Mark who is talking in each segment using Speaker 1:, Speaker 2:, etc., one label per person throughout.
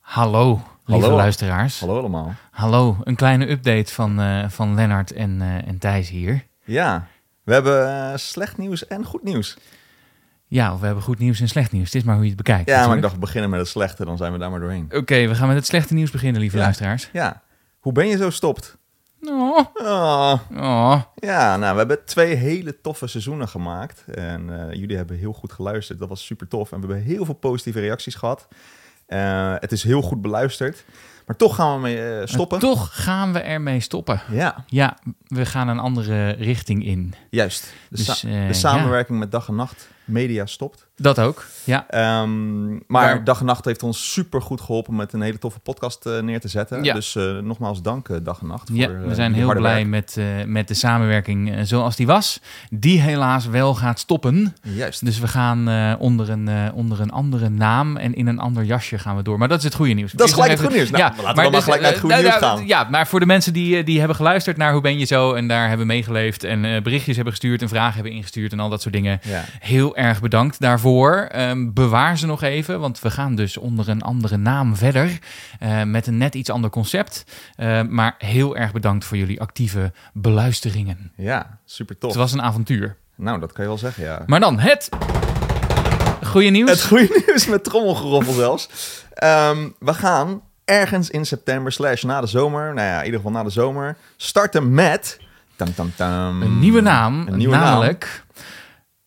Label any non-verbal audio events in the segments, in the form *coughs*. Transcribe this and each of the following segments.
Speaker 1: Hallo, lieve
Speaker 2: Hallo.
Speaker 1: luisteraars. Hallo.
Speaker 2: Hallo allemaal.
Speaker 1: een kleine update van, eh, van Lennart en, eh, en Thijs hier.
Speaker 2: Ja, we hebben eh, slecht nieuws en goed nieuws.
Speaker 1: Ja, of we hebben goed nieuws en slecht nieuws. Het is maar hoe je het bekijkt.
Speaker 2: Ja, maar ik
Speaker 1: natuurlijk.
Speaker 2: dacht we beginnen met het slechte, dan zijn we daar maar doorheen.
Speaker 1: Oké, we gaan met het slechte nieuws beginnen, lieve
Speaker 2: Ja.
Speaker 1: luisteraars.
Speaker 2: Ja, hoe ben je zo stopt?
Speaker 1: Oh,
Speaker 2: Ah,
Speaker 1: oh.
Speaker 2: ja, nou, we hebben twee hele toffe seizoenen gemaakt. En eh, jullie hebben heel goed geluisterd. Dat was super tof. En we hebben heel veel positieve reacties gehad. Eh, het is heel goed beluisterd. Maar toch gaan we mee eh, stoppen.
Speaker 1: Maar toch gaan we ermee stoppen.
Speaker 2: Ja,
Speaker 1: Ja, we gaan een andere richting in.
Speaker 2: juist. De,
Speaker 1: Dus,
Speaker 2: sa-
Speaker 1: eh,
Speaker 2: de samenwerking met dag en nacht media stopt.
Speaker 1: Dat ook, ja.
Speaker 2: Ehm, maar
Speaker 1: Maar-
Speaker 2: Dag en Nacht heeft ons super goed geholpen met een hele toffe podcast eh, neer te zetten.
Speaker 1: Ja.
Speaker 2: Dus eh, nogmaals dank, eh, Dag en Nacht.
Speaker 1: Ja,
Speaker 2: voor, eh,
Speaker 1: we zijn
Speaker 2: jullie
Speaker 1: heel
Speaker 2: harde
Speaker 1: blij
Speaker 2: werk.
Speaker 1: met, eh, met de samenwerking eh, zoals die was. Die helaas wel gaat stoppen.
Speaker 2: Juist.
Speaker 1: Dus we gaan eh, onder, een, eh, onder een andere naam en in een ander jasje gaan we door. Maar dat is het goede nieuws.
Speaker 2: Dat is
Speaker 1: Ik zeg
Speaker 2: gelijk het
Speaker 1: even-
Speaker 2: goede nieuws. Nou, laten we dan maar gelijk naar het goede
Speaker 1: eh, nou,
Speaker 2: nieuws
Speaker 1: nou,
Speaker 2: gaan.
Speaker 1: Ja, maar voor de mensen die, eh, die hebben geluisterd naar Hoe Ben Je Zo... en daar hebben meegeleefd en eh, berichtjes hebben gestuurd... en vragen hebben ingestuurd en al dat soort dingen...
Speaker 2: Ja.
Speaker 1: Heel erg bedankt daarvoor. Ehm, bewaar ze nog even, want we gaan dus onder een andere naam verder. eh, met een net iets ander concept. Eh, maar heel erg bedankt voor jullie actieve beluisteringen.
Speaker 2: ja, super tof.
Speaker 1: Het was een avontuur.
Speaker 2: Nou, dat kan je wel
Speaker 1: *laughs*
Speaker 2: zeggen, ja.
Speaker 1: Maar dan het goede nieuws.
Speaker 2: Het goede nieuws met trommelgeroffel zelfs. Ehm, we gaan ergens in september slash na de zomer, nou ja, in ieder geval na de zomer, starten met... Tam, tam, tam,
Speaker 1: Een nieuwe naam,
Speaker 2: Mm. Een nieuwe naam.
Speaker 1: namelijk...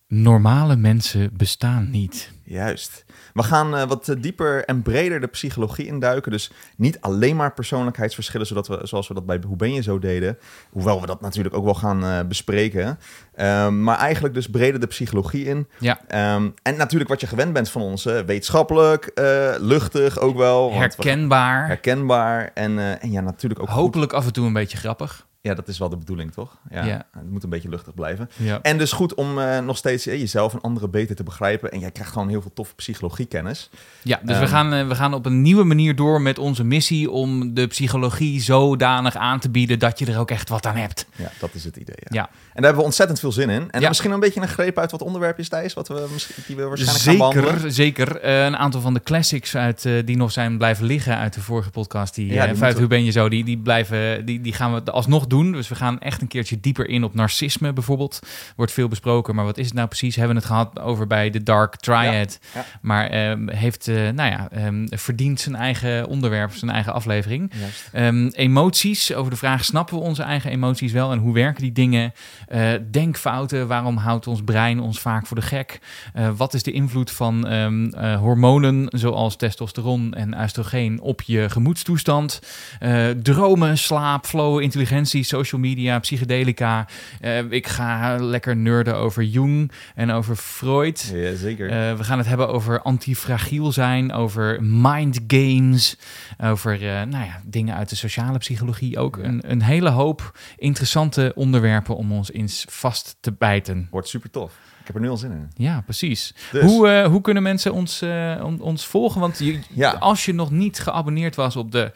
Speaker 1: Normale mensen bestaan niet.
Speaker 2: Juist. We gaan eh, wat eh, dieper en breder de psychologie induiken. Dus niet alleen maar persoonlijkheidsverschillen, zodat we, zoals we dat bij Hoe Ben Je Zo deden. Hoewel we dat natuurlijk ook wel gaan eh, bespreken. Ehm, maar eigenlijk dus breder de psychologie in.
Speaker 1: Ja.
Speaker 2: Ehm, en natuurlijk wat je gewend bent van ons. eh, wetenschappelijk, eh, luchtig ook wel. want we-
Speaker 1: Herkenbaar.
Speaker 2: herkenbaar. En, eh, en ja, natuurlijk ook goed.
Speaker 1: Hopelijk af en toe een beetje grappig.
Speaker 2: Ja, dat is wel de bedoeling, toch? Ja.
Speaker 1: Ja.
Speaker 2: Het moet een beetje luchtig blijven.
Speaker 1: Ja.
Speaker 2: En dus goed om eh, nog steeds eh, jezelf en anderen beter te begrijpen. En jij krijgt gewoon heel veel toffe psychologiekennis.
Speaker 1: Ja, dus we,
Speaker 2: Ehm.
Speaker 1: gaan, eh, we gaan op een nieuwe manier door met onze missie om de psychologie zodanig aan te bieden dat je er ook echt wat aan hebt.
Speaker 2: Ja, dat is het idee. Ja.
Speaker 1: Ja.
Speaker 2: En daar hebben we ontzettend veel zin in. En
Speaker 1: Ja.
Speaker 2: misschien een beetje een greep uit wat onderwerpjes, Thijs, wat we misschien, die we waarschijnlijk gaan behandelen.
Speaker 1: Zeker, zeker. Eh, een aantal van de classics uit, eh, die nog zijn blijven liggen uit de vorige podcast, die,
Speaker 2: Ja,
Speaker 1: eh,
Speaker 2: die
Speaker 1: vanuit
Speaker 2: moeten-
Speaker 1: Hoe Ben Je Zo, die, die, blijven, die, die gaan we alsnog doen. Dus we gaan echt een keertje dieper in op narcisme bijvoorbeeld. Wordt veel besproken, maar wat is het nou precies? Hebben we het gehad over bij de Dark Triad.
Speaker 2: Ja, ja.
Speaker 1: Maar ehm, heeft, eh, nou ja, ehm, verdient zijn eigen onderwerp, zijn eigen aflevering.
Speaker 2: Juist.
Speaker 1: Ehm, emoties, over de vraag snappen we onze eigen emoties wel en hoe werken die dingen? Eh, denkfouten, waarom houdt ons brein ons vaak voor de gek? Eh, wat is de invloed van ehm, eh, hormonen zoals testosteron en oestrogeen op je gemoedstoestand? Eh, dromen, slaap, flow, intelligentie, social media, psychedelica. Eh, ik ga lekker nerden over Jung en over Freud.
Speaker 2: Ja, zeker.
Speaker 1: Eh, we gaan het hebben over antifragiel zijn, over mind games, over eh, nou ja, dingen uit de sociale psychologie ook.
Speaker 2: Ja.
Speaker 1: Een, een hele hoop interessante onderwerpen om ons eens vast te bijten.
Speaker 2: Wordt super tof. Ik heb er nu al zin in.
Speaker 1: Ja, precies.
Speaker 2: Dus,
Speaker 1: Hoe, eh, hoe kunnen mensen ons, eh, on- ons volgen? Want je,
Speaker 2: ja,
Speaker 1: als je nog niet geabonneerd was op de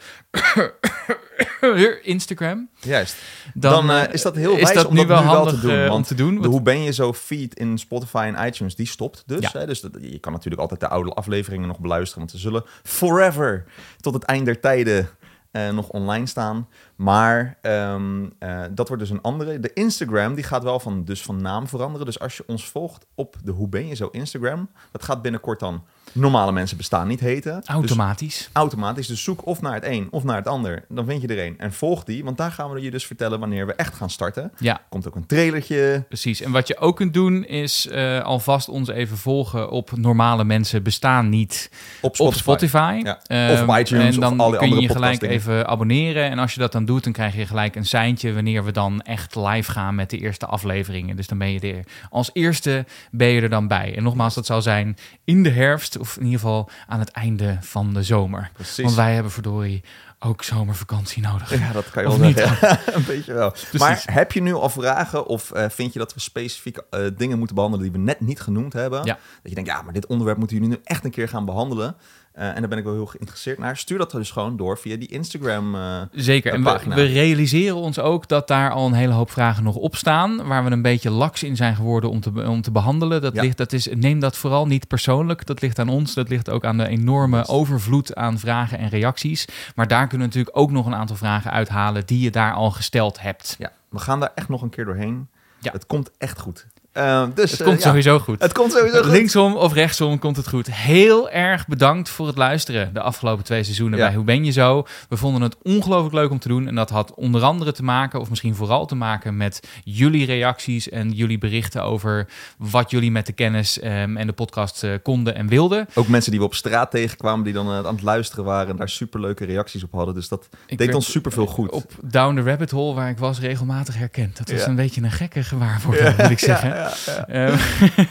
Speaker 1: *coughs* Instagram,
Speaker 2: juist.
Speaker 1: dan,
Speaker 2: Dan, eh,
Speaker 1: eh,
Speaker 2: is dat heel
Speaker 1: is
Speaker 2: wijs
Speaker 1: dat
Speaker 2: om
Speaker 1: nu
Speaker 2: dat
Speaker 1: wel
Speaker 2: nu wel
Speaker 1: handig
Speaker 2: te doen,
Speaker 1: eh, om
Speaker 2: want
Speaker 1: te doen.
Speaker 2: De
Speaker 1: Want-
Speaker 2: hoe ben je zo feed in Spotify en iTunes, die stopt dus.
Speaker 1: Ja.
Speaker 2: Hè? Dus dat, je kan natuurlijk altijd de oude afleveringen nog beluisteren. Want ze zullen forever tot het eind der tijden eh, nog online staan. Maar ehm, eh, dat wordt dus een andere. De Instagram die gaat wel van, dus van naam veranderen. Dus als je ons volgt op de Hoe ben je zo Instagram. Dat gaat binnenkort dan normale mensen bestaan niet heten. Dus
Speaker 1: Automatisch.
Speaker 2: automatisch. Dus zoek of naar het een of naar het ander. Dan vind je er een. En volg die. Want daar gaan we je dus vertellen wanneer we echt gaan starten.
Speaker 1: Ja.
Speaker 2: Komt ook een trailertje.
Speaker 1: Precies. En wat je ook kunt doen is eh, alvast ons even volgen op normale mensen bestaan niet
Speaker 2: Op Spotify.
Speaker 1: op Spotify.
Speaker 2: Ja. Of
Speaker 1: Ehm,
Speaker 2: op iTunes
Speaker 1: En
Speaker 2: of
Speaker 1: dan
Speaker 2: al die
Speaker 1: kun je
Speaker 2: andere
Speaker 1: je gelijk
Speaker 2: podcastdingen.
Speaker 1: even abonneren. En als je dat dan doet, dan krijg je gelijk een seintje wanneer we dan echt live gaan met de eerste afleveringen. Dus dan ben je er als eerste ben je er dan bij. En nogmaals, dat zou zijn in de herfst of in ieder geval aan het einde van de zomer.
Speaker 2: Precies.
Speaker 1: Want wij hebben verdorie ook zomervakantie nodig.
Speaker 2: *laughs* Ja, dat kan je
Speaker 1: Of
Speaker 2: wel
Speaker 1: niet?
Speaker 2: zeggen. een beetje wel. Maar
Speaker 1: Precies.
Speaker 2: heb je nu al vragen of eh, vind je dat we specifieke eh, dingen moeten behandelen die we net niet genoemd hebben?
Speaker 1: Ja.
Speaker 2: Dat je denkt, ja, maar dit onderwerp moeten jullie nu echt een keer gaan behandelen. Eh, en daar ben ik wel heel geïnteresseerd naar. Stuur dat dus gewoon door via die Instagram. eh,
Speaker 1: Zeker.
Speaker 2: Een
Speaker 1: En we,
Speaker 2: pagina.
Speaker 1: we realiseren ons ook dat daar al een hele hoop vragen nog op staan. Waar we een beetje laks in zijn geworden om te, be- om te behandelen. Dat
Speaker 2: Ja.
Speaker 1: ligt, dat is, neem dat vooral niet persoonlijk. Dat ligt aan ons. Dat ligt ook aan de enorme
Speaker 2: Juist.
Speaker 1: overvloed aan vragen en reacties. Maar daar kunnen we natuurlijk ook nog een aantal vragen uithalen die je daar al gesteld hebt.
Speaker 2: ja, we gaan daar echt nog een keer doorheen.
Speaker 1: Ja.
Speaker 2: Het komt echt goed. Eh, dus,
Speaker 1: Het
Speaker 2: eh,
Speaker 1: komt
Speaker 2: ja,
Speaker 1: sowieso goed.
Speaker 2: Het komt sowieso goed.
Speaker 1: Linksom of rechtsom komt het goed. Heel erg bedankt voor het luisteren de afgelopen twee seizoenen
Speaker 2: Ja.
Speaker 1: bij Hoe Ben Je Zo. We vonden het ongelooflijk leuk om te doen. En dat had onder andere te maken, of misschien vooral te maken met jullie reacties en jullie berichten over wat jullie met de kennis ehm, en de podcast eh, konden en wilden.
Speaker 2: Ook mensen die we op straat tegenkwamen, die dan eh, aan het luisteren waren en daar superleuke reacties op hadden. Dus dat
Speaker 1: Ik
Speaker 2: deed
Speaker 1: werd eh,
Speaker 2: ons superveel goed.
Speaker 1: Op Down the Rabbit Hole, waar ik was, regelmatig herkend. Dat was
Speaker 2: Ja.
Speaker 1: een beetje een gekke gewaarwording, *laughs* moet ik zeggen.
Speaker 2: Ja, ja, ja.
Speaker 1: Ehm,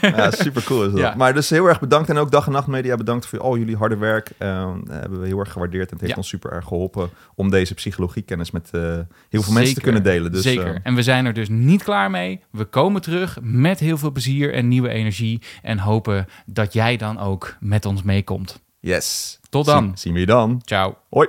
Speaker 2: Ja, super cool is dat.
Speaker 1: Ja.
Speaker 2: Maar dus heel erg bedankt. En ook Dag en Nacht Media, bedankt voor al jullie harde werk. Ehm, dat hebben we heel erg gewaardeerd. En het heeft
Speaker 1: Ja.
Speaker 2: ons super erg geholpen om deze psychologiekennis met eh, heel veel mensen te
Speaker 1: Zeker,
Speaker 2: kunnen delen. Dus,
Speaker 1: Zeker.
Speaker 2: eh,
Speaker 1: en we zijn er dus niet klaar mee. We komen terug met heel veel plezier en nieuwe energie. En hopen dat jij dan ook met ons meekomt.
Speaker 2: yes.
Speaker 1: Tot dan.
Speaker 2: Zie- zien we je dan.
Speaker 1: Ciao.
Speaker 2: Hoi.